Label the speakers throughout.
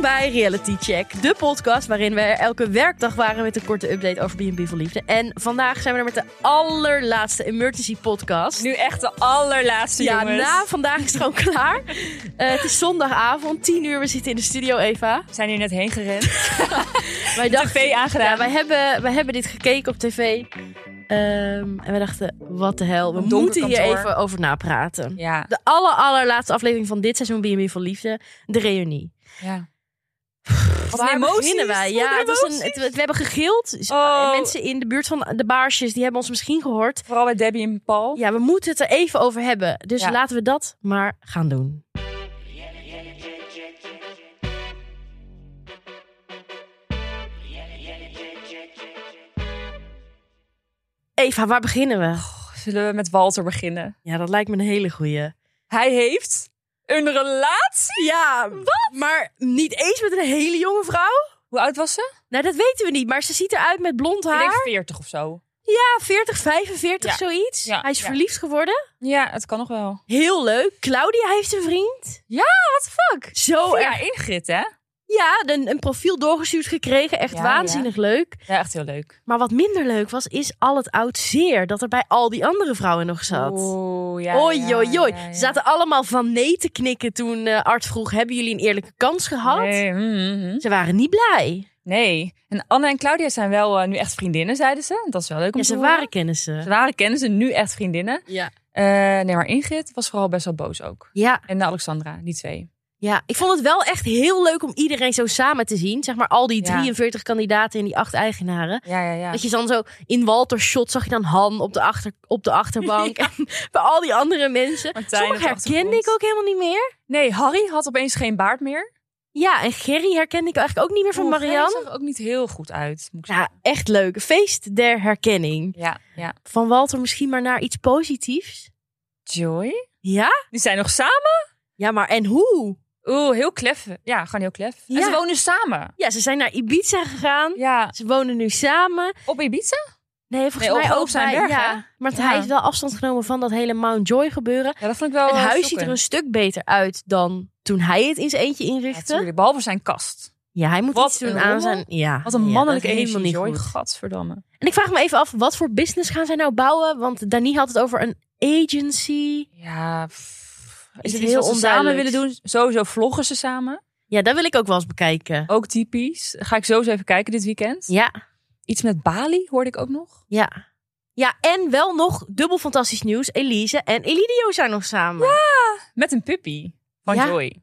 Speaker 1: bij Reality Check, de podcast waarin we er elke werkdag waren met een korte update over B&B voor liefde. En vandaag zijn we er met de allerlaatste emergency podcast.
Speaker 2: Nu echt de allerlaatste,
Speaker 1: ja,
Speaker 2: jongens.
Speaker 1: na vandaag is het gewoon klaar. Eh, het is zondagavond, 10 uur. We zitten in de studio, Eva.
Speaker 2: We zijn hier net heen gerend.
Speaker 1: Wij
Speaker 2: TV aangedaan.
Speaker 1: Ja, wij hebben, wij hebben dit gekeken op tv. Ehm, en we dachten, wat de hel. We
Speaker 2: Donker
Speaker 1: moeten hier
Speaker 2: kantoor.
Speaker 1: even over napraten.
Speaker 2: Ja,
Speaker 1: De aller, allerlaatste aflevering van dit seizoen B&B van Liefde. De reunie.
Speaker 2: ja.
Speaker 1: Wat
Speaker 2: een emoties,
Speaker 1: wij?
Speaker 2: wat
Speaker 1: Ja,
Speaker 2: een
Speaker 1: het was een,
Speaker 2: emoties.
Speaker 1: het- we hebben gegild. Dus,
Speaker 2: Oh.
Speaker 1: en Mensen in de buurt van de baarsjes, die hebben ons misschien gehoord.
Speaker 2: Vooral bij Debbie en Paul.
Speaker 1: Ja, we moeten het er even over hebben. Dus
Speaker 2: Ja.
Speaker 1: laten we dat maar gaan doen. Eva, waar beginnen we?
Speaker 2: Zullen we met Walter beginnen?
Speaker 1: Ja, dat lijkt me een hele goeie.
Speaker 2: Hij heeft een relatie.
Speaker 1: Ja, wat? Maar niet eens met een hele jonge vrouw?
Speaker 2: Hoe oud was ze?
Speaker 1: Nou, dat weten we niet. Maar ze ziet eruit met blond
Speaker 2: Ik denk
Speaker 1: haar.
Speaker 2: 40 of zo.
Speaker 1: Ja, 40, 45,
Speaker 2: Ja.
Speaker 1: zoiets.
Speaker 2: Ja,
Speaker 1: Hij is
Speaker 2: ja.
Speaker 1: verliefd geworden.
Speaker 2: Ja, het kan nog wel.
Speaker 1: Heel leuk. Claudia heeft een vriend.
Speaker 2: What the fuck?
Speaker 1: Zo erg.
Speaker 2: Oh, ja, Ingrid, hè?
Speaker 1: Ja, een, een profiel doorgestuurd gekregen. Echt
Speaker 2: Ja,
Speaker 1: waanzinnig leuk.
Speaker 2: Ja, echt heel leuk.
Speaker 1: Maar wat minder leuk was, is al het oud zeer dat er bij al die andere vrouwen nog zat.
Speaker 2: Oeh, ja.
Speaker 1: Oei,
Speaker 2: ja,
Speaker 1: oei, oei.
Speaker 2: ja, ja.
Speaker 1: Ze zaten allemaal van nee te knikken toen eh, Art vroeg: Hebben jullie een eerlijke kans gehad?
Speaker 2: Nee, mm, mm, mm.
Speaker 1: Ze waren niet blij.
Speaker 2: nee. En Anne en Claudia zijn wel eh, nu echt vriendinnen, zeiden ze. Dat is wel leuk om
Speaker 1: Ja,
Speaker 2: te
Speaker 1: ze
Speaker 2: horen.
Speaker 1: waren
Speaker 2: Ze
Speaker 1: kennissen.
Speaker 2: waren kennissen, nu echt vriendinnen.
Speaker 1: Ja.
Speaker 2: Eh, nee, maar Ingrid was vooral best wel boos ook.
Speaker 1: Ja,
Speaker 2: En Alexandra, die twee.
Speaker 1: ja, ik vond het wel echt heel leuk om iedereen zo samen te zien. Zeg maar al die
Speaker 2: Ja.
Speaker 1: 43 kandidaten en die acht eigenaren.
Speaker 2: Ja, ja, ja.
Speaker 1: Dat je dan zo in Walter shot zag je dan Han op de, achter, op de achterbank. En bij al die andere mensen.
Speaker 2: Martijn op
Speaker 1: Sommige
Speaker 2: de
Speaker 1: herkende
Speaker 2: achtergrond.
Speaker 1: ik ook helemaal niet meer.
Speaker 2: Nee, Harry had opeens geen baard meer.
Speaker 1: Ja, en Gerry herkende ik eigenlijk ook niet meer van
Speaker 2: Oeh,
Speaker 1: Marianne.
Speaker 2: Gerry zag er ook niet heel goed uit. Moet ik
Speaker 1: Ja, echt leuk. Feest der herkenning.
Speaker 2: zeggen. Ja, ja.
Speaker 1: Van Walter misschien maar naar iets positiefs.
Speaker 2: Joy?
Speaker 1: Ja?
Speaker 2: Die zijn nog samen?
Speaker 1: Ja, maar en hoe?
Speaker 2: Oeh, heel klef. Ja, gewoon heel klef. En
Speaker 1: Ja.
Speaker 2: ze wonen samen.
Speaker 1: Ja, ze zijn naar Ibiza gegaan.
Speaker 2: Ja,
Speaker 1: Ze wonen nu samen.
Speaker 2: op Ibiza?
Speaker 1: Nee, volgens
Speaker 2: Nee, op-
Speaker 1: mij
Speaker 2: op
Speaker 1: ook
Speaker 2: zijn
Speaker 1: bij-
Speaker 2: berg, hè?
Speaker 1: ja. Maar
Speaker 2: Ja.
Speaker 1: hij heeft wel afstand genomen van dat hele Mount Joy gebeuren.
Speaker 2: Ja, dat vond ik wel
Speaker 1: Het
Speaker 2: eh,
Speaker 1: huis ziet
Speaker 2: shockend.
Speaker 1: er een stuk beter uit dan toen hij het in zijn eentje
Speaker 2: Ja,
Speaker 1: inrichtte.
Speaker 2: tuurlijk, behalve zijn kast.
Speaker 1: Ja, hij moet
Speaker 2: Wat
Speaker 1: iets doen
Speaker 2: een
Speaker 1: aan
Speaker 2: rommel.
Speaker 1: zijn... Ja,
Speaker 2: Wat een
Speaker 1: ja,
Speaker 2: mannelijke
Speaker 1: dat is
Speaker 2: energie, Joy.
Speaker 1: goed.
Speaker 2: Gadverdamme.
Speaker 1: En ik vraag me even af, wat voor business gaan zij nou bouwen? Want Dani had het over een agency.
Speaker 2: Ja, pff,
Speaker 1: Is
Speaker 2: is
Speaker 1: het
Speaker 2: het
Speaker 1: heel
Speaker 2: iets wat ze samen
Speaker 1: onduidelijk?
Speaker 2: willen doen? Sowieso vloggen ze samen.
Speaker 1: Ja, dat wil ik ook wel eens bekijken.
Speaker 2: Ook typisch. Ga ik zo eens even kijken dit weekend.
Speaker 1: Ja,
Speaker 2: Iets met Bali hoorde ik ook nog.
Speaker 1: ja. Ja, en wel nog dubbel fantastisch nieuws. Elise en Elidio zijn nog samen. Ja,
Speaker 2: Met een puppy van
Speaker 1: Ja.
Speaker 2: Joy.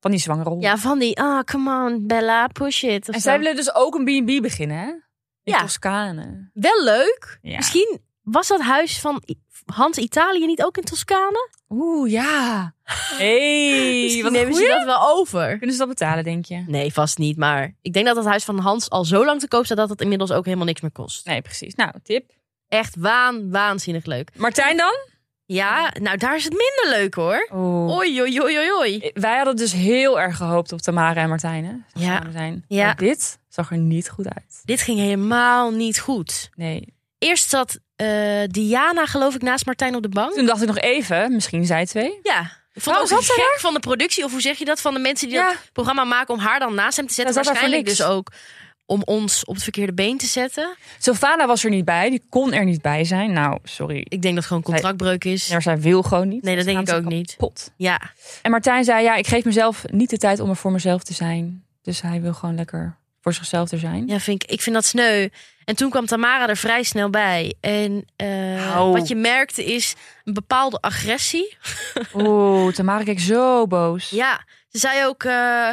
Speaker 2: Van die zwangere hond.
Speaker 1: van die, ah, come on, Bella, push it. of
Speaker 2: en
Speaker 1: zo.
Speaker 2: zij willen dus ook een B&B beginnen, hè? In
Speaker 1: Ja.
Speaker 2: Toscane.
Speaker 1: Wel leuk.
Speaker 2: Ja.
Speaker 1: Misschien was dat huis van I- Hans Italië niet ook in Toscane?
Speaker 2: Oeh, ja. hey,
Speaker 1: Misschien
Speaker 2: wat een
Speaker 1: Dus nemen ze
Speaker 2: goeie.
Speaker 1: dat wel over.
Speaker 2: Kunnen ze dat betalen, denk je?
Speaker 1: Nee, vast niet. Maar ik denk dat het huis van Hans al zo lang te koop staat dat het inmiddels ook helemaal niks meer kost.
Speaker 2: Nee, precies. Nou, tip.
Speaker 1: Echt waan, waanzinnig leuk.
Speaker 2: Martijn dan?
Speaker 1: Ja, nou daar is het minder leuk hoor.
Speaker 2: Oeh.
Speaker 1: Oei, oei, oei, oei, oei.
Speaker 2: Wij hadden dus heel erg gehoopt op Tamara en Martijn, hè? Zou
Speaker 1: Ja.
Speaker 2: samen Zijn.
Speaker 1: Ja.
Speaker 2: Maar dit zag er niet goed uit.
Speaker 1: Dit ging helemaal niet goed.
Speaker 2: Nee.
Speaker 1: Eerst zat eh, Diana, geloof ik, naast Martijn op de bank.
Speaker 2: Toen dacht ik nog even, misschien zij twee.
Speaker 1: Ja. Ik vond
Speaker 2: Oh,
Speaker 1: het ook
Speaker 2: zat zij
Speaker 1: gek van de productie, of hoe zeg je dat, van de mensen die
Speaker 2: Ja.
Speaker 1: dat programma maken om haar dan naast hem te zetten.
Speaker 2: Ja, zat daar voor
Speaker 1: Waarschijnlijk dus
Speaker 2: niks.
Speaker 1: ook om ons op het verkeerde been te zetten.
Speaker 2: Sylvana was er niet bij. Die kon er niet bij zijn. Nou, sorry.
Speaker 1: Ik denk dat het gewoon contractbreuk is.
Speaker 2: Nee, Maar zij wil gewoon niet.
Speaker 1: Nee, dat
Speaker 2: Ze
Speaker 1: denk
Speaker 2: gaan
Speaker 1: ik ook
Speaker 2: ze
Speaker 1: niet.
Speaker 2: kapot.
Speaker 1: Ja,
Speaker 2: En Martijn zei, ja, ik geef mezelf niet de tijd om er voor mezelf te zijn. Dus hij wil gewoon lekker voor zichzelf er zijn.
Speaker 1: ja vind ik, ik vind dat sneu. En toen kwam Tamara er vrij snel bij. En eh,
Speaker 2: Au.
Speaker 1: wat je merkte is een bepaalde agressie.
Speaker 2: Oeh, Tamara keek zo boos.
Speaker 1: Ja, ze zei ook... eh,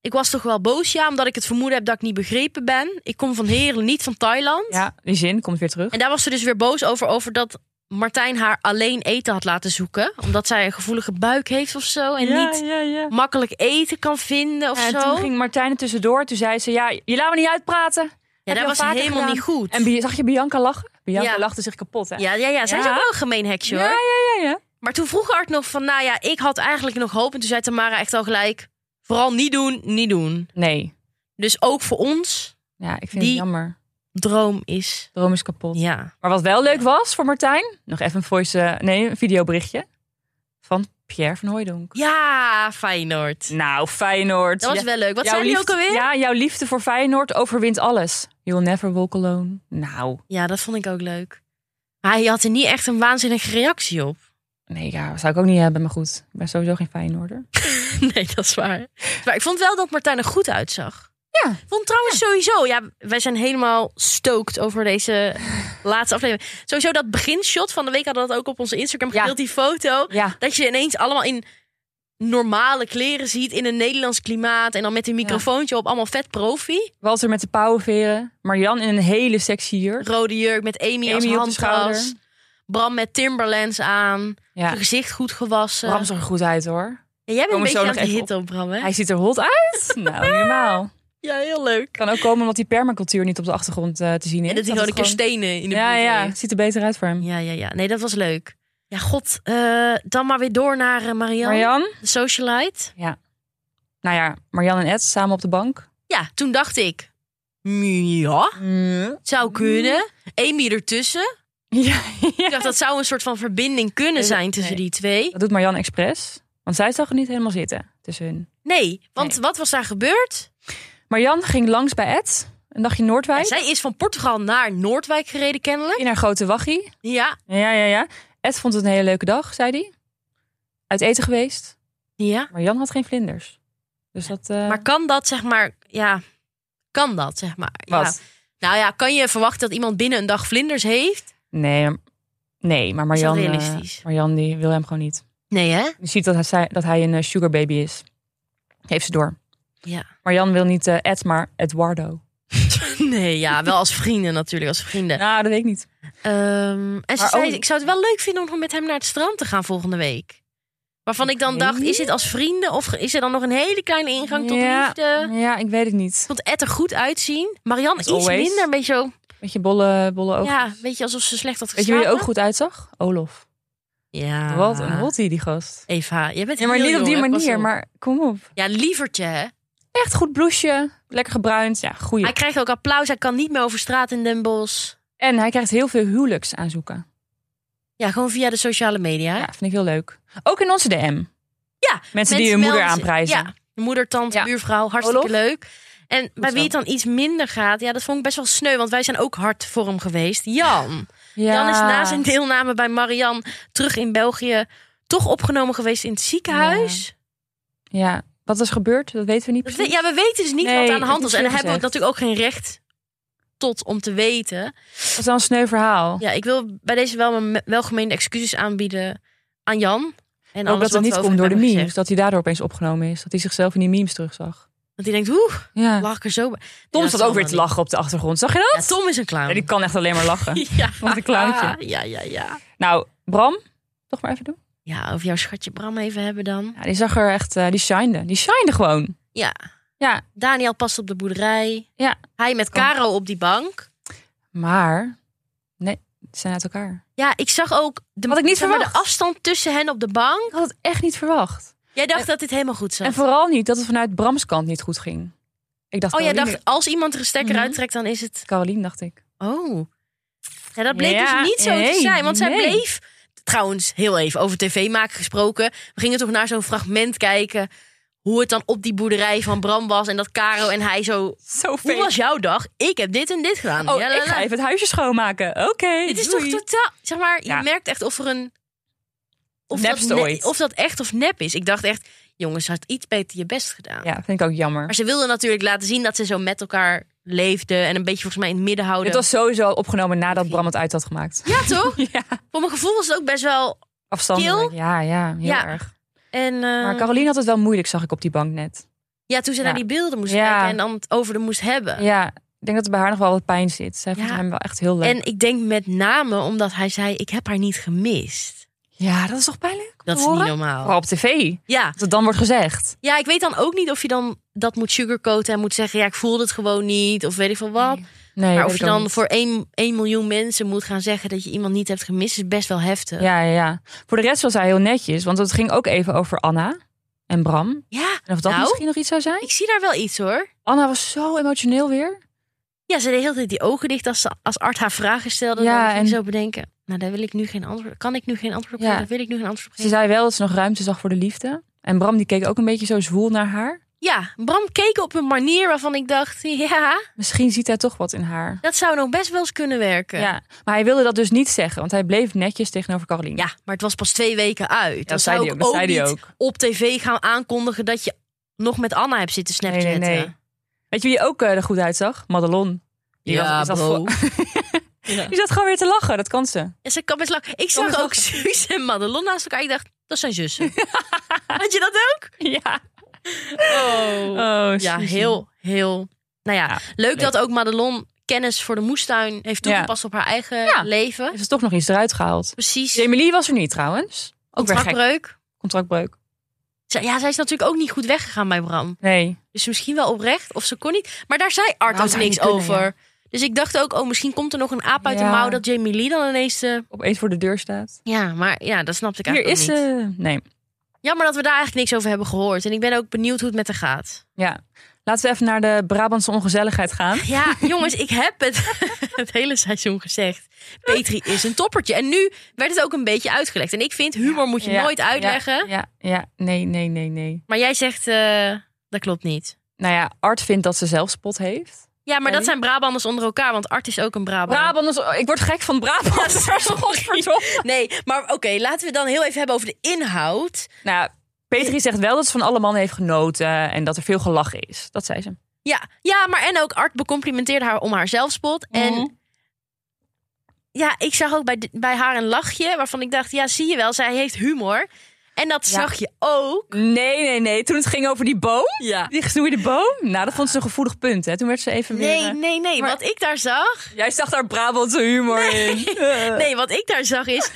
Speaker 1: ik was toch wel boos, ja, omdat ik het vermoeden heb dat ik niet begrepen ben. Ik kom van Heren, niet van Thailand.
Speaker 2: Ja, die zin komt weer terug.
Speaker 1: En daar was ze dus weer boos over, over dat Martijn haar alleen eten had laten zoeken. Omdat zij een gevoelige buik heeft of zo. En niet
Speaker 2: ja, ja.
Speaker 1: makkelijk eten kan vinden of
Speaker 2: En
Speaker 1: zo.
Speaker 2: toen ging Martijn er tussendoor. Toen zei ze, ja, je laat me niet uitpraten.
Speaker 1: ja,
Speaker 2: je
Speaker 1: dat
Speaker 2: al
Speaker 1: was
Speaker 2: vaker
Speaker 1: helemaal
Speaker 2: gedaan.
Speaker 1: niet goed.
Speaker 2: En Bi- zag je Bianca lachen? Bianca
Speaker 1: Ja.
Speaker 2: lachte zich kapot, hè?
Speaker 1: ja, ja, ja, zij is
Speaker 2: Ja.
Speaker 1: ook wel een gemeen heksje
Speaker 2: ja,
Speaker 1: hoor.
Speaker 2: ja, ja, ja.
Speaker 1: Maar toen vroeg Art nog van, nou ja, ik had eigenlijk nog hoop. En toen zei Tamara echt al gelijk, vooral niet doen, niet doen.
Speaker 2: Nee.
Speaker 1: Dus ook voor ons,
Speaker 2: Ja, ik vind
Speaker 1: Die-
Speaker 2: het jammer.
Speaker 1: droom is,
Speaker 2: De room is kapot.
Speaker 1: ja...
Speaker 2: Maar wat wel leuk was voor Martijn, nog even een voice, eh, nee, een videoberichtje van Pierre van Hooijdonk.
Speaker 1: Ja, Feyenoord.
Speaker 2: Nou, Feyenoord.
Speaker 1: Dat was wel leuk. Wat
Speaker 2: jouw
Speaker 1: zijn die ook
Speaker 2: liefde-
Speaker 1: alweer?
Speaker 2: Ja, jouw liefde voor Feyenoord overwint alles. You'll never walk alone. Nou,
Speaker 1: Ja, dat vond ik ook leuk. Maar hij had er niet echt een waanzinnige reactie op.
Speaker 2: nee, ja, zou ik ook niet hebben, maar goed. Ik ben sowieso geen Feyenoorder.
Speaker 1: Nee, dat is waar. Maar ik vond wel dat Martijn er goed uitzag.
Speaker 2: Ja.
Speaker 1: Ik vond trouwens sowieso, ja, wij zijn helemaal stoked over deze laatste aflevering. Sowieso dat beginshot van de week hadden we dat ook op onze Instagram
Speaker 2: Ja.
Speaker 1: gedeeld, die foto.
Speaker 2: Ja,
Speaker 1: Dat je ineens allemaal in normale kleren ziet, in een Nederlands klimaat. En dan met een microfoontje op, allemaal vet profi.
Speaker 2: Walter met de pauwenveren. Marjan in een hele sexy jurk.
Speaker 1: Rode jurk met Amy, als
Speaker 2: Amy op de
Speaker 1: handtas.
Speaker 2: schouder.
Speaker 1: Bram met Timberlands aan.
Speaker 2: Ja,
Speaker 1: Zijn gezicht goed gewassen.
Speaker 2: Bram zag er goed uit hoor.
Speaker 1: Ja, jij bent een
Speaker 2: Komen
Speaker 1: beetje
Speaker 2: zo
Speaker 1: aan
Speaker 2: nog
Speaker 1: de
Speaker 2: even
Speaker 1: hit op, Bram, hè?
Speaker 2: Hij ziet er hot uit. Nou, niet normaal.
Speaker 1: Ja, heel leuk.
Speaker 2: Kan ook komen omdat die permacultuur niet op de achtergrond eh, te zien is.
Speaker 1: En dat hij gewoon
Speaker 2: het
Speaker 1: een keer stenen in de
Speaker 2: Ja,
Speaker 1: buurt
Speaker 2: ja,
Speaker 1: heeft.
Speaker 2: het ziet er beter uit voor hem.
Speaker 1: Ja, ja, ja. Nee, dat was leuk. Ja, god. eh, dan maar weer door naar eh, Marianne.
Speaker 2: Marjan?
Speaker 1: de socialite.
Speaker 2: Nou ja, Marjan en Ed samen op de bank.
Speaker 1: Ja, toen dacht ik... "Mm, Ja, het
Speaker 2: Mm.
Speaker 1: zou kunnen. Amy ertussen.
Speaker 2: Ja,
Speaker 1: Ik dacht, dat zou een soort van verbinding kunnen
Speaker 2: Nee,
Speaker 1: zijn tussen
Speaker 2: nee.
Speaker 1: die twee.
Speaker 2: Dat doet Marjan expres. Want zij zag er niet helemaal zitten tussen hun.
Speaker 1: Nee, want
Speaker 2: Nee.
Speaker 1: wat was daar gebeurd?
Speaker 2: Marjan ging langs bij Ed. Een dagje Noordwijk.
Speaker 1: Zij is van Portugal naar Noordwijk gereden kennelijk.
Speaker 2: In haar grote waggie.
Speaker 1: Ja,
Speaker 2: Ja, ja, ja. Ed vond het een hele leuke dag, zei hij. Uit eten geweest.
Speaker 1: ja.
Speaker 2: Marjan had geen vlinders. Dus dat... eh,
Speaker 1: Maar kan dat, zeg maar... Ja, kan dat, zeg maar. Ja.
Speaker 2: wat?
Speaker 1: Nou ja, kan je verwachten dat iemand binnen een dag vlinders heeft?
Speaker 2: Nee, maar- nee, maar
Speaker 1: Is dat
Speaker 2: Marjan... eh,
Speaker 1: realistisch?
Speaker 2: Marjan die wil hem gewoon niet.
Speaker 1: Nee, hè?
Speaker 2: Je ziet dat hij, dat hij een eh, sugar baby is. Heeft ze door.
Speaker 1: Ja.
Speaker 2: Marjan wil niet eh, Ed, maar Eduardo.
Speaker 1: Nee, ja, wel als vrienden natuurlijk, als vrienden.
Speaker 2: Nou, dat weet ik niet.
Speaker 1: Ehm, en ze
Speaker 2: Maar
Speaker 1: zei,
Speaker 2: ook-
Speaker 1: ik zou het wel leuk vinden om nog met hem naar het strand te gaan volgende week. Waarvan ik dan
Speaker 2: Oké.
Speaker 1: dacht, is dit als vrienden of is er dan nog een hele kleine ingang tot
Speaker 2: ja,
Speaker 1: liefde?
Speaker 2: Ja, ik weet het niet.
Speaker 1: Ik vond Ed er goed uitzien. Marianne
Speaker 2: As
Speaker 1: iets
Speaker 2: always.
Speaker 1: minder, een beetje zo,
Speaker 2: Beetje bolle, bolle ogen.
Speaker 1: ja, een beetje alsof ze slecht had
Speaker 2: weet
Speaker 1: geslapen.
Speaker 2: je wie er ook goed uitzag? Olof.
Speaker 1: Ja.
Speaker 2: Wat een hottie, die gast.
Speaker 1: Eva, jij bent
Speaker 2: Ja, maar
Speaker 1: heel
Speaker 2: niet op die
Speaker 1: jong, hè, pas
Speaker 2: manier, maar kom op.
Speaker 1: Ja, lievertje, hè?
Speaker 2: Echt goed blouseje, lekker gebruind. Ja, goeie.
Speaker 1: Hij krijgt ook applaus, hij kan niet meer over straat in Den Bosch.
Speaker 2: En hij krijgt heel veel huwelijks aanzoeken.
Speaker 1: Ja, gewoon via de sociale media.
Speaker 2: Ja, vind ik heel leuk. Ook in onze DM. Mensen,
Speaker 1: Ja,
Speaker 2: die
Speaker 1: melden
Speaker 2: hun moeder
Speaker 1: zich.
Speaker 2: aanprijzen.
Speaker 1: Ja, moeder, tante,
Speaker 2: Ja.
Speaker 1: buurvrouw, hartstikke
Speaker 2: Olof?
Speaker 1: leuk. En bij
Speaker 2: zo.
Speaker 1: wie het dan iets minder gaat, ja, dat vond ik best wel sneu, want wij zijn ook hard voor hem geweest. Jan.
Speaker 2: Ja.
Speaker 1: Jan is na zijn deelname bij Marianne terug in België toch opgenomen geweest in het ziekenhuis.
Speaker 2: Ja, wat is gebeurd, dat weten we niet
Speaker 1: Dat
Speaker 2: precies.
Speaker 1: we- ja, we weten dus niet
Speaker 2: Nee,
Speaker 1: wat aan de hand
Speaker 2: het
Speaker 1: was.
Speaker 2: is
Speaker 1: En daar
Speaker 2: veel
Speaker 1: hebben we natuurlijk ook geen recht tot om te weten.
Speaker 2: Dat is wel een sneu verhaal.
Speaker 1: Ja, ik wil bij deze wel mijn welgemeende excuses aanbieden aan Jan. En
Speaker 2: ook
Speaker 1: alles
Speaker 2: dat het
Speaker 1: wat we
Speaker 2: niet
Speaker 1: over
Speaker 2: komt
Speaker 1: hem
Speaker 2: door de
Speaker 1: hebben
Speaker 2: memes.
Speaker 1: gezegd.
Speaker 2: Dat hij daardoor opeens opgenomen is. Dat hij zichzelf in die memes terugzag.
Speaker 1: Want hij denkt, oeh,
Speaker 2: Ja.
Speaker 1: lag ik er zo bij. Nee,
Speaker 2: Tom
Speaker 1: dat
Speaker 2: zat
Speaker 1: zal
Speaker 2: ook weer
Speaker 1: wel
Speaker 2: te
Speaker 1: niet.
Speaker 2: lachen op de achtergrond. Zag je dat?
Speaker 1: Ja, Tom is een clown.
Speaker 2: Ja, die kan echt alleen maar lachen.
Speaker 1: Ja. Ah,
Speaker 2: Wat een clowntje.
Speaker 1: Ja, ja, ja.
Speaker 2: Nou, Bram, toch maar even doen.
Speaker 1: Ja, over jouw schatje Bram even hebben dan.
Speaker 2: Ja, die zag er echt, eh, die shinede. Die shinede gewoon.
Speaker 1: Ja.
Speaker 2: Ja,
Speaker 1: Daniel past op de boerderij.
Speaker 2: Ja.
Speaker 1: Hij met Caro op die bank.
Speaker 2: maar nee, ze zijn uit elkaar.
Speaker 1: Ja, ik zag ook de,
Speaker 2: Had ik niet
Speaker 1: zeg maar, de
Speaker 2: verwacht.
Speaker 1: afstand tussen hen op de bank.
Speaker 2: Ik had het echt niet verwacht.
Speaker 1: Jij dacht dat dit helemaal goed
Speaker 2: En
Speaker 1: zat.
Speaker 2: vooral niet dat het vanuit Brams kant niet goed ging. Ik dacht,
Speaker 1: Oh, jij
Speaker 2: Caroline-
Speaker 1: dacht, als iemand er een stekker
Speaker 2: Mhm.
Speaker 1: uittrekt, dan is het...
Speaker 2: Caroline dacht ik.
Speaker 1: Oh. Ja, dat bleek
Speaker 2: Ja,
Speaker 1: dus niet zo te
Speaker 2: nee,
Speaker 1: zijn. Want zij
Speaker 2: nee.
Speaker 1: bleef... Trouwens, heel even over tv maken gesproken. We gingen toch naar zo'n fragment kijken... hoe het dan op die boerderij van Bram was... en dat Caro en hij zo
Speaker 2: Zo
Speaker 1: Hoe was jouw dag? Ik heb dit en dit gedaan.
Speaker 2: Oh,
Speaker 1: Ja, la,
Speaker 2: ik
Speaker 1: la.
Speaker 2: ga even het huisje schoonmaken. Oké,
Speaker 1: Dit is toch
Speaker 2: doei.
Speaker 1: totaal. Zeg maar, je
Speaker 2: Ja.
Speaker 1: merkt echt of er een. Of dat,
Speaker 2: Nepstory.
Speaker 1: ne- of dat echt of nep is. Ik dacht echt, jongens, ze had iets beter je best gedaan.
Speaker 2: Ja, vind ik ook jammer.
Speaker 1: Maar ze wilde natuurlijk laten zien dat ze zo met elkaar leefden. En een beetje volgens mij in het midden houden.
Speaker 2: Het was sowieso opgenomen nadat Bram het uit had gemaakt.
Speaker 1: Ja, toch?
Speaker 2: Ja,
Speaker 1: Voor mijn gevoel was het ook best wel.
Speaker 2: afstandelijk.
Speaker 1: Kil?
Speaker 2: Ja, ja, heel
Speaker 1: Ja.
Speaker 2: erg.
Speaker 1: En, eh,
Speaker 2: Maar Caroline had het wel moeilijk, zag ik op die bank net.
Speaker 1: ja, toen ze
Speaker 2: Ja.
Speaker 1: naar die beelden moest
Speaker 2: Ja.
Speaker 1: kijken en dan het over de moest hebben.
Speaker 2: Ja, ik denk dat er bij haar nog wel wat pijn zit. Zij
Speaker 1: Ja.
Speaker 2: vond hem wel echt heel leuk.
Speaker 1: En ik denk met name omdat hij zei: Ik heb haar niet gemist.
Speaker 2: Ja, dat is toch pijnlijk? om
Speaker 1: Dat
Speaker 2: te
Speaker 1: is niet
Speaker 2: horen? Oh.
Speaker 1: normaal.
Speaker 2: Vooral op tv.
Speaker 1: Ja,
Speaker 2: Dat het dan wordt gezegd.
Speaker 1: Ja, ik weet dan ook niet of je dan dat moet sugarcoaten en moet zeggen: ja, ik voelde het gewoon niet, of weet ik veel wat.
Speaker 2: Nee,
Speaker 1: maar
Speaker 2: weet
Speaker 1: of je
Speaker 2: ik ook
Speaker 1: dan
Speaker 2: niet.
Speaker 1: voor 1, miljoen mensen moet gaan zeggen dat je iemand niet hebt gemist, is best wel heftig.
Speaker 2: Ja, ja, ja. Voor de rest was hij heel netjes. Want het ging ook even over Anna en Bram.
Speaker 1: Ja,
Speaker 2: En of dat
Speaker 1: Nou?
Speaker 2: misschien nog iets zou zijn.
Speaker 1: ik zie daar wel iets hoor.
Speaker 2: Anna was zo emotioneel weer.
Speaker 1: Ja, ze deed heel de hele tijd die ogen dicht als, ze- als Art haar vragen stelde.
Speaker 2: Ja,
Speaker 1: Ja, en
Speaker 2: en-
Speaker 1: zo bedenken. Nou, daar wil ik nu geen antwoord Kan ik nu geen antwoord op
Speaker 2: Ja.
Speaker 1: geven? Daar wil ik nu geen antwoord op
Speaker 2: Ze
Speaker 1: geven.
Speaker 2: zei wel dat ze nog ruimte zag voor de liefde. En Bram die keek ook een beetje zo zwoel naar haar.
Speaker 1: Ja, Bram keek op een manier waarvan ik dacht... Ja,
Speaker 2: Misschien ziet hij toch wat in haar.
Speaker 1: dat zou nog best wel eens kunnen werken.
Speaker 2: Ja, maar hij wilde dat dus niet zeggen, want hij bleef netjes tegenover Caroline.
Speaker 1: Ja, maar het was pas twee weken uit.
Speaker 2: dat
Speaker 1: Dan
Speaker 2: zei
Speaker 1: zou
Speaker 2: hij
Speaker 1: ik
Speaker 2: ook. Dat
Speaker 1: ook
Speaker 2: zei
Speaker 1: niet
Speaker 2: hij ook.
Speaker 1: op tv gaan aankondigen dat je nog met Anna hebt zitten
Speaker 2: Nee,
Speaker 1: snapchatten.
Speaker 2: nee, nee. Weet je wie er ook eh, er goed uitzag? Madelon. Die
Speaker 1: Ja,
Speaker 2: was- is dat
Speaker 1: bro.
Speaker 2: Die zat gewoon weer te lachen, dat kan ze.
Speaker 1: En ze kan best lang. Ik
Speaker 2: Kan best
Speaker 1: zag ook Suus en Madelon naast elkaar. Ik dacht, dat zijn zussen. Had je dat ook?
Speaker 2: Ja.
Speaker 1: Oh.
Speaker 2: Oh,
Speaker 1: Ja,
Speaker 2: Suzy.
Speaker 1: heel, heel. Nou ja,
Speaker 2: Ja,
Speaker 1: leuk dat ook Madelon kennis voor de moestuin heeft
Speaker 2: Ja.
Speaker 1: toegepast op haar eigen
Speaker 2: Ja.
Speaker 1: leven.
Speaker 2: Heeft ze toch nog iets eruit gehaald.
Speaker 1: Precies.
Speaker 2: Emily was er niet trouwens. Ook weer gek.
Speaker 1: Contractbreuk.
Speaker 2: Contractbreuk.
Speaker 1: Zij- Ja, zij is natuurlijk ook niet goed weggegaan bij Bram.
Speaker 2: Nee.
Speaker 1: Dus misschien wel oprecht, of ze kon niet. Maar daar zei Art
Speaker 2: Nou,
Speaker 1: ook
Speaker 2: zou
Speaker 1: niks
Speaker 2: niet kunnen,
Speaker 1: over. Dus ik dacht ook, oh, misschien komt er nog een aap uit de
Speaker 2: Ja.
Speaker 1: mouw dat Jamie Lee dan ineens... eh,
Speaker 2: Opeens voor de deur staat.
Speaker 1: Ja, maar ja, dat snapte ik
Speaker 2: Hier
Speaker 1: eigenlijk
Speaker 2: is
Speaker 1: ook niet.
Speaker 2: ze. Nee.
Speaker 1: Jammer dat we daar eigenlijk niks over hebben gehoord. En ik ben ook benieuwd hoe het met haar gaat.
Speaker 2: Ja. Laten we even naar de Brabantse ongezelligheid gaan.
Speaker 1: Ja, jongens, ik heb het het hele seizoen gezegd. Petri is een toppertje. En nu werd het ook een beetje uitgelegd. En ik vind, humor moet je
Speaker 2: Ja,
Speaker 1: nooit uitleggen.
Speaker 2: Ja, ja, ja. Nee, nee, nee, nee.
Speaker 1: Maar jij zegt, eh, dat klopt niet.
Speaker 2: Nou ja, Art vindt dat ze zelfspot heeft.
Speaker 1: Ja, maar dat
Speaker 2: Sorry?
Speaker 1: zijn Brabanders onder elkaar. Want Art is ook een Brabant.
Speaker 2: Brabanders, oh, ik word gek van Brabanders. Godverdomme.
Speaker 1: Nee, maar oké, laten we dan heel even hebben over de inhoud.
Speaker 2: Nou, ja, Petri zegt wel dat ze van alle mannen heeft genoten en dat er veel gelachen is. Dat zei ze.
Speaker 1: Ja, ja maar en ook Art becomplimenteerde haar om haar zelfspot. En ja, ik zag ook bij, de- bij haar een lachje waarvan ik dacht, ja, zie je wel, zij heeft humor. En dat
Speaker 2: Ja.
Speaker 1: zag je ook.
Speaker 2: Nee, nee, nee. Toen het ging over die boom,
Speaker 1: Ja.
Speaker 2: die gesnoeide boom. Nou, dat vond ze een gevoelig punt. Hè. Toen werd ze even weer...
Speaker 1: Nee,
Speaker 2: eh,
Speaker 1: nee, nee.
Speaker 2: Maar-
Speaker 1: Wat ik daar zag.
Speaker 2: Jij zag daar Brabantse humor in. Eh.
Speaker 1: Nee, wat ik daar zag is.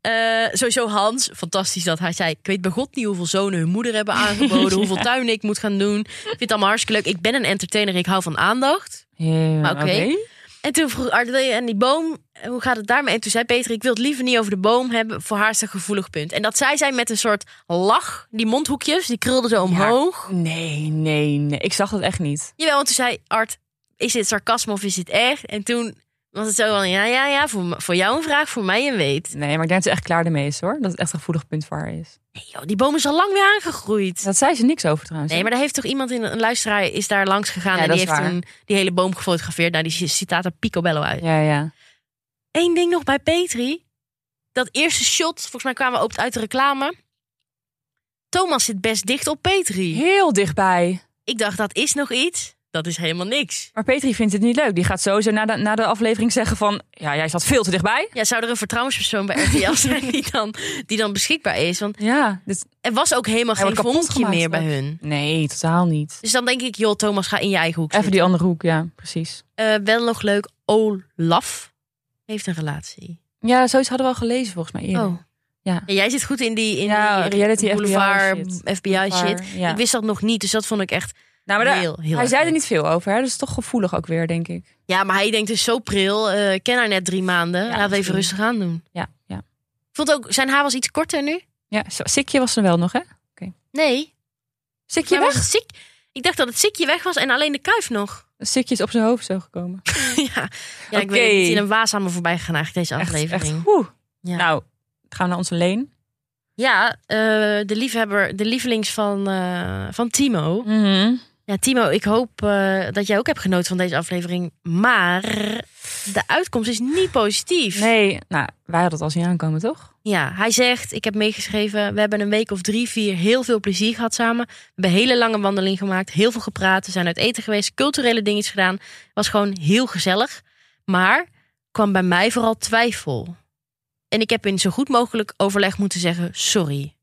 Speaker 1: eh, sowieso Hans. Fantastisch dat hij zei. Ik weet bij God niet hoeveel zonen hun moeder hebben aangeboden. Hoeveel tuin ik moet gaan doen. Ik vind het allemaal hartstikke leuk. Ik ben een entertainer. Ik hou van aandacht.
Speaker 2: Ja,
Speaker 1: Maar oké. En toen vroeg Art, wil je en die boom, hoe gaat het daarmee? En toen zei Peter, ik wil het liever niet over de boom hebben. Voor haar is het een gevoelig punt. En dat zei zij met een soort lach. Die mondhoekjes, die krulden zo omhoog.
Speaker 2: Nee, nee, nee. Ik zag dat echt niet.
Speaker 1: Jawel, want toen zei Art, is dit sarcasme of is dit echt? En toen was het zo van, ja, ja, ja, voor, m- voor jou een vraag, voor mij een weet.
Speaker 2: Nee, maar ik denk dat ze echt klaar ermee is hoor. Dat het echt een gevoelig punt voor haar is.
Speaker 1: Nee, joh, die boom is al lang weer aangegroeid.
Speaker 2: Dat zei ze niks over trouwens.
Speaker 1: Nee, maar daar heeft toch iemand in een luisteraar is daar langs gegaan
Speaker 2: Ja,
Speaker 1: en
Speaker 2: dat
Speaker 1: die
Speaker 2: is
Speaker 1: heeft
Speaker 2: waar.
Speaker 1: toen die hele boom gefotografeerd. Nou, die citaat er picobello uit.
Speaker 2: Ja, ja.
Speaker 1: Eén ding nog bij Petri. Dat eerste shot, volgens mij kwamen we ook uit de reclame. Thomas zit best dicht op Petri.
Speaker 2: Heel dichtbij.
Speaker 1: Ik dacht, dat is nog iets. Dat is helemaal niks.
Speaker 2: Maar Petri vindt het niet leuk. Die gaat sowieso na de, na de aflevering zeggen van... Ja, jij zat veel te dichtbij.
Speaker 1: Ja, zou er een vertrouwenspersoon bij RTL zijn die dan, die dan beschikbaar is? Want
Speaker 2: Ja. Dit...
Speaker 1: er was ook helemaal
Speaker 2: Hij
Speaker 1: geen
Speaker 2: wordt kapot
Speaker 1: vonkje meer
Speaker 2: gemaakt
Speaker 1: bij
Speaker 2: straks.
Speaker 1: hun.
Speaker 2: Dus, Nee, totaal niet.
Speaker 1: Dus dan denk ik, joh Thomas, ga in je eigen hoek
Speaker 2: Even
Speaker 1: zitten.
Speaker 2: die andere hoek, ja. Precies.
Speaker 1: Eh, wel nog leuk, Olaf heeft een relatie.
Speaker 2: Ja, zoiets hadden we al gelezen volgens mij eerder.
Speaker 1: Oh.
Speaker 2: Ja.
Speaker 1: En jij zit goed in die, in
Speaker 2: Ja,
Speaker 1: die
Speaker 2: reality
Speaker 1: boulevard,
Speaker 2: FBI
Speaker 1: FBI,
Speaker 2: shit.
Speaker 1: shit.
Speaker 2: Maar, ja.
Speaker 1: Ik wist dat nog niet, dus dat vond ik echt
Speaker 2: nou, maar daar-
Speaker 1: heel, heel
Speaker 2: hij
Speaker 1: erg
Speaker 2: zei er
Speaker 1: leuk.
Speaker 2: niet veel over. Hè? Dat is toch gevoelig ook weer, denk ik.
Speaker 1: Ja, maar hij denkt dus zo pril. eh, ik ken haar net drie maanden.
Speaker 2: Ja,
Speaker 1: Laten we even
Speaker 2: misschien.
Speaker 1: rustig aan doen.
Speaker 2: Ja, ja.
Speaker 1: Ik vond ook, zijn haar was iets korter nu?
Speaker 2: Ja, zo- Sikje was er wel nog, hè?
Speaker 1: Nee.
Speaker 2: Sikje
Speaker 1: Maar was
Speaker 2: weg?
Speaker 1: het ziek? Ik dacht dat het ziekje weg was en alleen de kuif nog.
Speaker 2: Sikje is op zijn hoofd zo gekomen.
Speaker 1: ja, ja ik
Speaker 2: Oké.
Speaker 1: weet niet. In een waas aan me voorbij gegaan eigenlijk deze
Speaker 2: Echt,
Speaker 1: aflevering.
Speaker 2: echt. Oeh.
Speaker 1: Ja.
Speaker 2: Nou, gaan we naar onze leen.
Speaker 1: Ja, eh, de liefhebber, de lievelings van, eh, van Timo. Ja, Timo, ik hoop eh, dat jij ook hebt genoten van deze aflevering. Maar de uitkomst is niet positief.
Speaker 2: Nee, nou, wij hadden het al zien aankomen, toch?
Speaker 1: Ja, hij zegt, ik heb meegeschreven, we hebben een week of drie, vier heel veel plezier gehad samen. We hebben een hele lange wandeling gemaakt, heel veel gepraat, we zijn uit eten geweest, culturele dingetjes gedaan. was gewoon heel gezellig. Maar kwam bij mij vooral twijfel. En ik heb in zo goed mogelijk overleg moeten zeggen, sorry.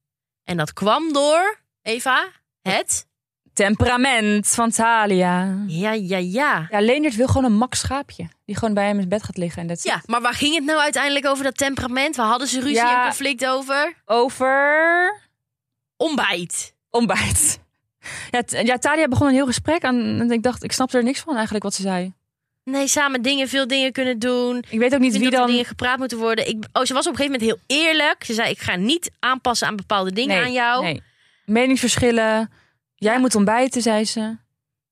Speaker 1: En dat kwam door, Eva, het...
Speaker 2: Temperament van Thalia.
Speaker 1: Ja, ja, ja.
Speaker 2: Ja, Leendert wil gewoon een mak schaapje. Die gewoon bij hem in bed gaat liggen. En dat
Speaker 1: Ja, maar waar ging het nou uiteindelijk over dat temperament? Waar hadden ze ruzie
Speaker 2: Ja.
Speaker 1: en conflict over?
Speaker 2: Over
Speaker 1: Ontbijt.
Speaker 2: ontbijt. Ja, T- ja, Thalia begon een heel gesprek aan. En ik dacht, ik snapte er niks van eigenlijk wat ze zei.
Speaker 1: Nee, samen dingen, veel dingen kunnen doen.
Speaker 2: Ik weet ook niet
Speaker 1: Ik
Speaker 2: wie
Speaker 1: vind dat er
Speaker 2: dan.
Speaker 1: dingen gepraat moeten worden. Ik, oh, ze was op een gegeven moment heel eerlijk. Ze zei: Ik ga niet aanpassen aan bepaalde dingen aan jou.
Speaker 2: nee. Meningsverschillen. Jij moet ontbijten, zei ze.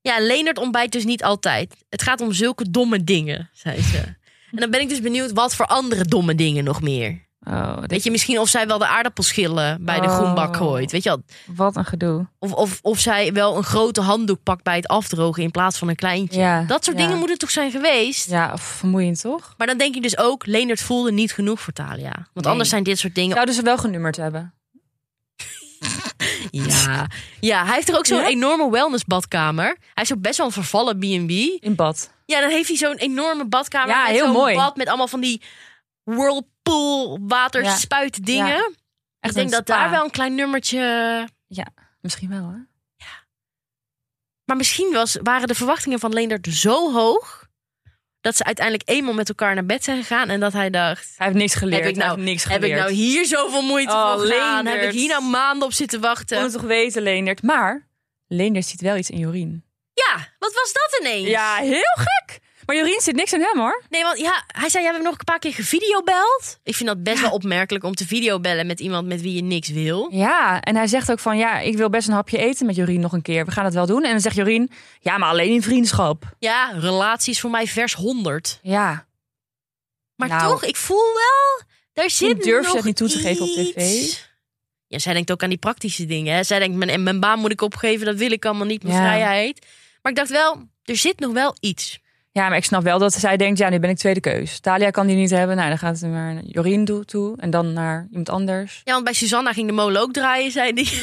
Speaker 1: Ja, Leonard ontbijt dus niet altijd. Het gaat om zulke domme dingen, zei ze. En dan ben ik dus benieuwd wat voor andere domme dingen nog meer.
Speaker 2: Oh, dit-
Speaker 1: Weet je, misschien of zij wel de aardappelschillen bij de
Speaker 2: Oh.
Speaker 1: groenbak gooit. Weet je wel?
Speaker 2: wat een gedoe.
Speaker 1: Of, of, of zij wel een grote handdoek pakt bij het afdrogen in plaats van een kleintje.
Speaker 2: Ja,
Speaker 1: Dat soort
Speaker 2: ja.
Speaker 1: dingen moeten toch zijn geweest?
Speaker 2: Ja, of vermoeiend toch?
Speaker 1: Maar dan denk je dus ook, Leendert voelde niet genoeg voor Talia. Want
Speaker 2: Nee.
Speaker 1: anders zijn dit soort dingen...
Speaker 2: Zouden ze wel genummerd hebben?
Speaker 1: Ja. ja, hij heeft er ook zo'n
Speaker 2: Ja?
Speaker 1: enorme wellnessbadkamer. Hij is ook best wel een vervallen B&B.
Speaker 2: In bad.
Speaker 1: Ja, dan heeft hij zo'n enorme badkamer.
Speaker 2: Ja,
Speaker 1: met
Speaker 2: heel
Speaker 1: zo'n
Speaker 2: mooi.
Speaker 1: Bad met allemaal van die whirlpool water
Speaker 2: Ja.
Speaker 1: spuit dingen.
Speaker 2: Ja.
Speaker 1: Ik denk
Speaker 2: een
Speaker 1: dat
Speaker 2: spa.
Speaker 1: daar wel een klein nummertje...
Speaker 2: Misschien wel, hè?
Speaker 1: Maar misschien was, waren de verwachtingen van Leendert zo hoog... dat ze uiteindelijk eenmaal met elkaar naar bed zijn gegaan... en dat hij dacht...
Speaker 2: Hij heeft niks geleerd.
Speaker 1: Heb ik nou-
Speaker 2: Hij heeft niks
Speaker 1: Heb ik
Speaker 2: geleerd.
Speaker 1: nou hier zoveel moeite
Speaker 2: Oh,
Speaker 1: voor gedaan? Heb ik
Speaker 2: Leendert.
Speaker 1: hier nou maanden op zitten wachten?
Speaker 2: Kon het toch weten, Leendert? Maar Leendert ziet wel iets in Jorien.
Speaker 1: Ja, wat was dat ineens?
Speaker 2: Ja, heel gek! Maar Jorien zit niks in hem, hoor.
Speaker 1: Nee, want ja, hij zei, jij hebt nog een paar keer gevideobeld. Ik vind dat best wel opmerkelijk om te videobellen met iemand met wie je niks wil.
Speaker 2: Ja, en hij zegt ook van... Ja, ik wil best een hapje eten met Jorien nog een keer. We gaan het wel doen. En dan zegt Jorien... Ja, maar alleen in vriendschap.
Speaker 1: Ja, relatie is voor mij vers 100.
Speaker 2: Ja.
Speaker 1: Maar
Speaker 2: Nou.
Speaker 1: toch, ik voel wel, daar
Speaker 2: Misschien
Speaker 1: zit
Speaker 2: durft
Speaker 1: nog
Speaker 2: ze het niet toe te geven op tv.
Speaker 1: iets. Ja, zij denkt ook aan die praktische dingen. Hè. Zij denkt, mijn, mijn baan moet ik opgeven, dat wil ik allemaal niet, mijn
Speaker 2: Ja.
Speaker 1: vrijheid. Maar ik dacht wel, er zit nog wel iets.
Speaker 2: Ja, maar ik snap wel dat zij denkt... Ja, nu ben ik tweede keus. Talia kan die niet hebben. Nou, dan gaat het maar naar Jorien toe- toe. En dan naar iemand anders.
Speaker 1: Ja, want bij Susanna ging de molen ook draaien, zei die. Ja,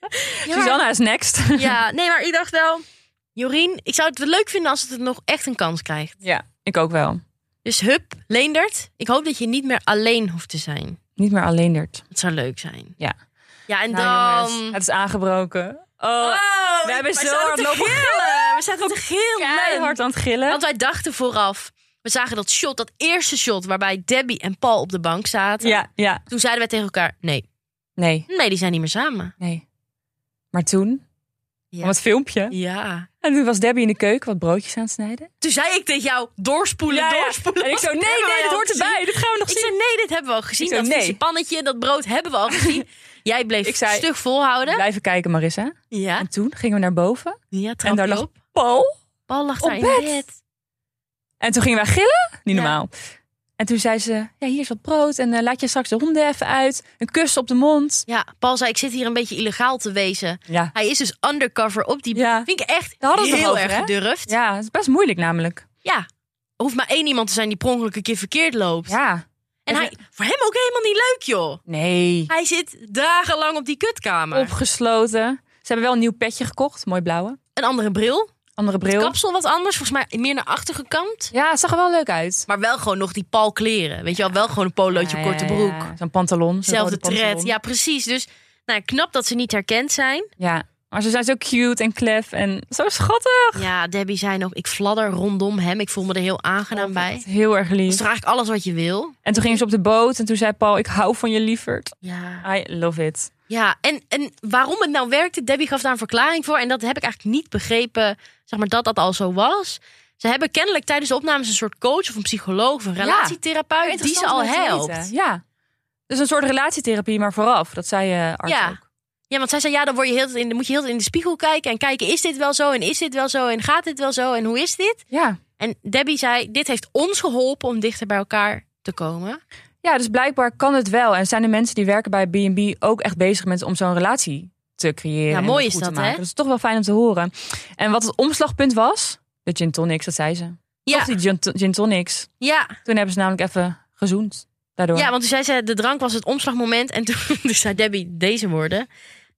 Speaker 1: maar-
Speaker 2: Susanna is next.
Speaker 1: Ja, nee, maar ik dacht wel, Jorien, ik zou het wel leuk vinden als het nog echt een kans krijgt.
Speaker 2: ja, ik ook wel.
Speaker 1: Dus hup, Leendert, ik hoop dat je niet meer alleen hoeft te zijn.
Speaker 2: Niet meer alleen Leendert.
Speaker 1: Dat zou leuk zijn.
Speaker 2: Ja.
Speaker 1: Ja, en
Speaker 2: Nou,
Speaker 1: dan...
Speaker 2: jongens, het is aangebroken. Oh,
Speaker 1: Oh,
Speaker 2: we hebben
Speaker 1: wij
Speaker 2: zo
Speaker 1: zaten
Speaker 2: hard
Speaker 1: te
Speaker 2: lopen
Speaker 1: gillen. We zaten te gillen.
Speaker 2: keihard aan het gillen.
Speaker 1: Want wij dachten vooraf... We zagen dat shot, dat eerste shot... waarbij Debbie en Paul op de bank zaten.
Speaker 2: Ja, ja.
Speaker 1: Toen zeiden wij tegen elkaar... Nee,
Speaker 2: Nee,
Speaker 1: nee, die zijn niet meer samen.
Speaker 2: nee. Maar toen,
Speaker 1: Ja.
Speaker 2: om het filmpje.
Speaker 1: Ja.
Speaker 2: En toen was Debbie in de keuken wat broodjes aan het snijden.
Speaker 1: Toen zei ik tegen jou... Doorspoelen, doorspoelen.
Speaker 2: En ik zo, nee,
Speaker 1: Hebben wij
Speaker 2: nee, dat
Speaker 1: al
Speaker 2: hoort
Speaker 1: gezien?
Speaker 2: erbij. Dit gaan we nog
Speaker 1: Ik
Speaker 2: zien.
Speaker 1: zei, nee, dit hebben we al gezien.
Speaker 2: Ik zei,
Speaker 1: dat
Speaker 2: nee.
Speaker 1: vieze pannetje, dat brood hebben we al gezien. Jij bleef
Speaker 2: Ik zei,
Speaker 1: stug volhouden.
Speaker 2: Blijven kijken, Marissa.
Speaker 1: Ja.
Speaker 2: En toen gingen we naar boven.
Speaker 1: Ja, trapje
Speaker 2: en daar lag
Speaker 1: op.
Speaker 2: Paul.
Speaker 1: Paul lag
Speaker 2: op
Speaker 1: daar in
Speaker 2: bed.
Speaker 1: bed.
Speaker 2: En toen gingen wij gillen. Niet
Speaker 1: Ja.
Speaker 2: normaal. En toen zei ze, ja, hier is wat brood. En eh, laat je straks de honden even uit. Een kus op de mond.
Speaker 1: Ja, Paul zei, ik zit hier een beetje illegaal te wezen.
Speaker 2: Ja.
Speaker 1: Hij is dus undercover op die...
Speaker 2: Ja.
Speaker 1: Vind ik echt
Speaker 2: Daar hadden we het
Speaker 1: heel
Speaker 2: nog over,
Speaker 1: erg
Speaker 2: hè?
Speaker 1: gedurfd. Ja.
Speaker 2: Ja, het is best moeilijk namelijk.
Speaker 1: Er hoeft maar één iemand te zijn die per ongeluk een keer verkeerd loopt.
Speaker 2: Ja.
Speaker 1: En hij, voor hem ook helemaal niet leuk, joh.
Speaker 2: Nee.
Speaker 1: Hij zit dagenlang op die kutkamer.
Speaker 2: Opgesloten. Ze hebben wel een nieuw petje gekocht. Mooi blauwe.
Speaker 1: Een andere bril.
Speaker 2: Andere
Speaker 1: Het
Speaker 2: bril.
Speaker 1: kapsel wat anders. Volgens mij meer naar achter gekamd.
Speaker 2: Ja, het zag er wel leuk uit.
Speaker 1: Maar wel gewoon nog die Paul kleren. Weet je wel, wel gewoon een polootje,
Speaker 2: Ja, ja,
Speaker 1: korte
Speaker 2: ja,
Speaker 1: broek.
Speaker 2: ja. Zo'n pantalon. zo'n
Speaker 1: Zelfde
Speaker 2: rode pantalon.
Speaker 1: tred. Ja, precies. Dus nou, ja, knap dat ze niet herkend zijn.
Speaker 2: ja. Maar ze zijn zo cute en klef en zo schattig.
Speaker 1: Ja, Debbie zei nog, ik fladder rondom hem. Ik voel me er heel aangenaam bij.
Speaker 2: Echt
Speaker 1: Dat
Speaker 2: Heel erg
Speaker 1: is
Speaker 2: lief.
Speaker 1: toch eigenlijk alles wat je wil?
Speaker 2: En toen gingen ze op de boot en toen zei Paul, ik hou van je lieverd.
Speaker 1: Ja.
Speaker 2: I love it.
Speaker 1: Ja, en, en waarom het nou werkte, Debbie gaf daar een verklaring voor. En dat heb ik eigenlijk niet begrepen, zeg maar, dat dat al zo was. Ze hebben kennelijk tijdens de opnames een soort coach of een psycholoog of een
Speaker 2: Ja.
Speaker 1: relatietherapeut Oh, die ze al helpt.
Speaker 2: Ja. Dus een soort relatietherapie, maar vooraf. Dat zei je Art
Speaker 1: Ja.
Speaker 2: ook.
Speaker 1: Ja, want zij zei, ja, dan, word je heel, de tijd in, dan moet je heel de tijd in de spiegel kijken en kijken, is dit wel zo en is dit wel zo en gaat dit wel zo en hoe is dit?
Speaker 2: Ja.
Speaker 1: En Debbie zei, dit heeft ons geholpen om dichter bij elkaar te komen.
Speaker 2: ja, dus blijkbaar kan het wel. En zijn de mensen die werken bij B&B ook echt bezig met om zo'n relatie te creëren.
Speaker 1: Ja,
Speaker 2: en
Speaker 1: mooi
Speaker 2: goed
Speaker 1: is
Speaker 2: te
Speaker 1: dat,
Speaker 2: maken.
Speaker 1: hè?
Speaker 2: Dat is toch wel fijn om te horen. En wat het omslagpunt was, de gin tonics, dat zei ze.
Speaker 1: Ja,
Speaker 2: Of die gin, gin tonics.
Speaker 1: ja.
Speaker 2: Toen hebben ze namelijk even gezoend. Daardoor.
Speaker 1: Ja, want toen zei ze, de drank was het omslagmoment. En toen toen zei Debbie deze woorden.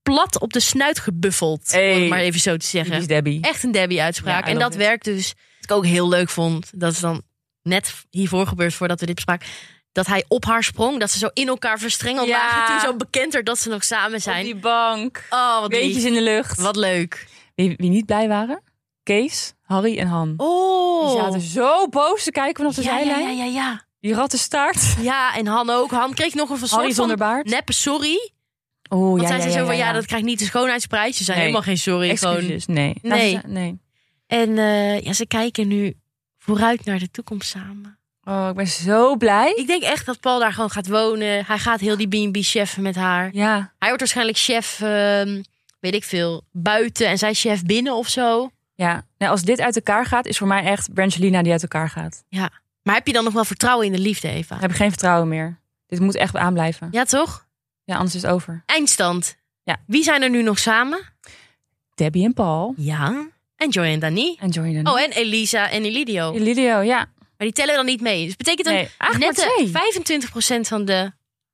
Speaker 1: Plat op de snuit gebuffeld, om
Speaker 2: Hey.
Speaker 1: het maar even zo te
Speaker 2: Die is
Speaker 1: zeggen.
Speaker 2: Debbie.
Speaker 1: Echt een Debbie-uitspraak.
Speaker 2: Ja, I
Speaker 1: en
Speaker 2: love
Speaker 1: dat
Speaker 2: it.
Speaker 1: werkt dus. Wat ik ook heel leuk vond, dat is dan net hiervoor gebeurd, voordat we dit bespraken... dat hij op haar sprong, dat ze zo in elkaar verstrengeld
Speaker 2: Ja.
Speaker 1: lagen... toen zo bekend werd dat ze nog samen zijn.
Speaker 2: die bank.
Speaker 1: Oh, wat
Speaker 2: Beetjes
Speaker 1: lief.
Speaker 2: in de lucht.
Speaker 1: Wat leuk.
Speaker 2: Wie, wie niet blij waren? Kees, Harry en Han. Die
Speaker 1: Oh.
Speaker 2: zaten zo boos te kijken vanaf de
Speaker 1: ja, ja,
Speaker 2: zijlijn.
Speaker 1: ja, ja, ja.
Speaker 2: Die rattenstaart.
Speaker 1: Ja, en Han ook. Han kreeg nog een
Speaker 2: Harry
Speaker 1: soort
Speaker 2: zonder
Speaker 1: van
Speaker 2: baard.
Speaker 1: neppe sorry.
Speaker 2: Oh,
Speaker 1: Want zij zei zo van, ja, dat krijgt niet de schoonheidsprijs. Ze zijn
Speaker 2: Nee.
Speaker 1: helemaal geen sorry. Gewoon
Speaker 2: Excuses, nee. Laten
Speaker 1: Nee.
Speaker 2: ze- nee.
Speaker 1: En eh, ja, ze kijken nu vooruit naar de toekomst samen.
Speaker 2: Oh, ik ben zo blij.
Speaker 1: Ik denk echt dat Paul daar gewoon gaat wonen. Hij gaat heel die B&B cheffen met haar.
Speaker 2: Ja,
Speaker 1: Hij wordt waarschijnlijk chef, ehm, weet ik veel, buiten. En zij chef binnen of zo.
Speaker 2: ja. Nou, als dit uit elkaar gaat, is voor mij echt Brangelina die uit elkaar gaat.
Speaker 1: Ja. Maar heb je dan nog wel vertrouwen in de liefde, Eva?
Speaker 2: Dan heb ik geen vertrouwen meer. Dit moet echt aanblijven. Ja,
Speaker 1: Ja, toch?
Speaker 2: anders is het over.
Speaker 1: Eindstand.
Speaker 2: Ja.
Speaker 1: Wie zijn er nu nog samen?
Speaker 2: Debbie en Paul.
Speaker 1: Ja. En Joy en Dani.
Speaker 2: En Jordan.
Speaker 1: Oh, en Elisa en Elidio. Maar
Speaker 2: Lidio, ja.
Speaker 1: die tellen dan niet mee. Dus betekent dan
Speaker 2: Nee, eigenlijk maar twee.
Speaker 1: nette 25% van de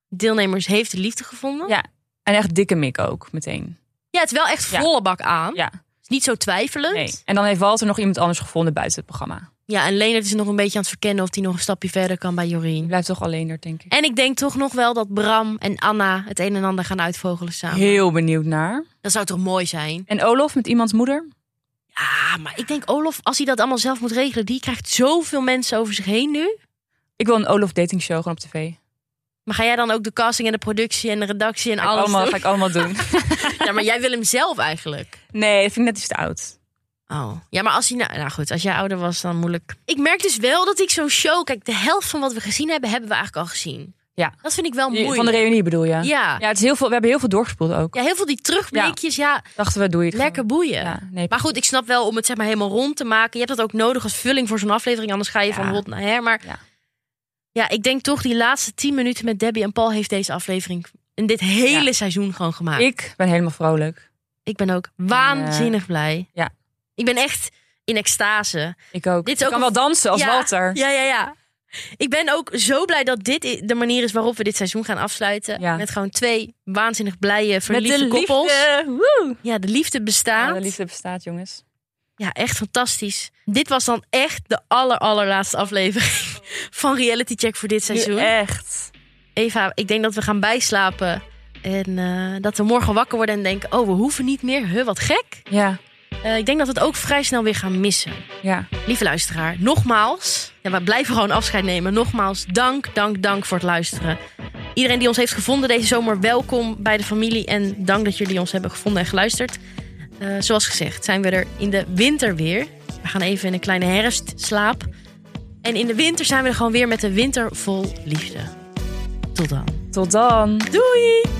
Speaker 1: deelnemers heeft de liefde gevonden.
Speaker 2: Ja. En echt dikke mik ook, meteen.
Speaker 1: Ja, het is wel echt
Speaker 2: Ja.
Speaker 1: volle bak aan.
Speaker 2: Ja.
Speaker 1: Is Niet zo twijfelend.
Speaker 2: Nee. En dan heeft Walter nog iemand anders gevonden buiten het programma.
Speaker 1: Ja, en Leonard is nog een beetje aan het verkennen of hij nog een stapje verder kan bij
Speaker 2: Die
Speaker 1: Jorien.
Speaker 2: blijft toch alleen daar, denk ik.
Speaker 1: En ik denk toch nog wel dat Bram en Anna het een en ander gaan uitvogelen samen.
Speaker 2: Heel benieuwd naar.
Speaker 1: Dat zou toch mooi zijn?
Speaker 2: En Olof met iemands moeder.
Speaker 1: Ja, maar ik denk Olof, als hij dat allemaal zelf moet regelen, die krijgt zoveel mensen over zich heen nu.
Speaker 2: Ik wil een Olof dating show gewoon op tv.
Speaker 1: Maar ga jij dan ook de casting en de productie en de redactie en
Speaker 2: Ga ik
Speaker 1: alles
Speaker 2: allemaal,
Speaker 1: doen?
Speaker 2: ga ik allemaal doen.
Speaker 1: Ja, maar jij wil hem zelf eigenlijk.
Speaker 2: Nee, dat vind ik net iets te oud.
Speaker 1: Oh. Ja, maar als hij nou, nou goed, als jij ouder was, dan moeilijk. Ik merk dus wel dat ik zo'n show, kijk, de helft van wat we gezien hebben, hebben we eigenlijk al gezien.
Speaker 2: Ja.
Speaker 1: Dat vind ik wel
Speaker 2: Je-
Speaker 1: Oh, moeilijk.
Speaker 2: Van de reunie bedoel je?
Speaker 1: ja.
Speaker 2: Ja, het is heel veel, we hebben heel veel doorgespoeld ook.
Speaker 1: ja, heel veel die terugblikjes, ja,
Speaker 2: Dachten we, doe je het
Speaker 1: lekker boeien.
Speaker 2: gewoon. Ja, nee.
Speaker 1: Maar goed, ik snap wel om het zeg maar helemaal rond te maken. Je hebt dat ook nodig als vulling voor zo'n aflevering, anders ga je van
Speaker 2: Ja.
Speaker 1: hot naar her. Maar ja.
Speaker 2: Ja.
Speaker 1: ik denk toch die laatste tien minuten met Debbie en Paul heeft deze aflevering in dit hele
Speaker 2: Ja.
Speaker 1: seizoen gewoon gemaakt. Ik,
Speaker 2: Ik ben helemaal vrolijk.
Speaker 1: ben ook waanzinnig blij.
Speaker 2: ja.
Speaker 1: Ik ben echt in extase.
Speaker 2: Ik ook.
Speaker 1: Dit is
Speaker 2: ik
Speaker 1: ook
Speaker 2: kan
Speaker 1: een-
Speaker 2: wel dansen als
Speaker 1: ja,
Speaker 2: Walter.
Speaker 1: Ja, ja, ja. Ik ben ook zo blij dat dit i- de manier is waarop we dit seizoen gaan afsluiten.
Speaker 2: Ja.
Speaker 1: Met gewoon twee waanzinnig blije, verliefde
Speaker 2: met de
Speaker 1: koppels.
Speaker 2: liefde. Woe.
Speaker 1: Ja, de liefde bestaat.
Speaker 2: Ja, de liefde bestaat, jongens.
Speaker 1: Ja, echt fantastisch. Dit was dan echt de aller, allerlaatste aflevering van Reality Check voor dit seizoen.
Speaker 2: Nu eh, echt.
Speaker 1: Eva, ik denk dat we gaan bijslapen. En eh, dat we morgen wakker worden en denken: oh, we hoeven niet meer. Huh, wat gek.
Speaker 2: Ja,
Speaker 1: Eh, ik denk dat we het ook vrij snel weer gaan missen.
Speaker 2: ja.
Speaker 1: Lieve luisteraar, nogmaals. Ja, we blijven gewoon afscheid nemen. Nogmaals, dank, dank, dank voor het luisteren. Iedereen die ons heeft gevonden deze zomer, welkom bij de familie. En dank dat jullie ons hebben gevonden en geluisterd. Eh, zoals gezegd, zijn we er in de winter weer. We gaan even in een kleine herfstslaap. En in de winter zijn we er gewoon weer met de winter vol liefde. Tot dan.
Speaker 2: Tot dan.
Speaker 1: Doei!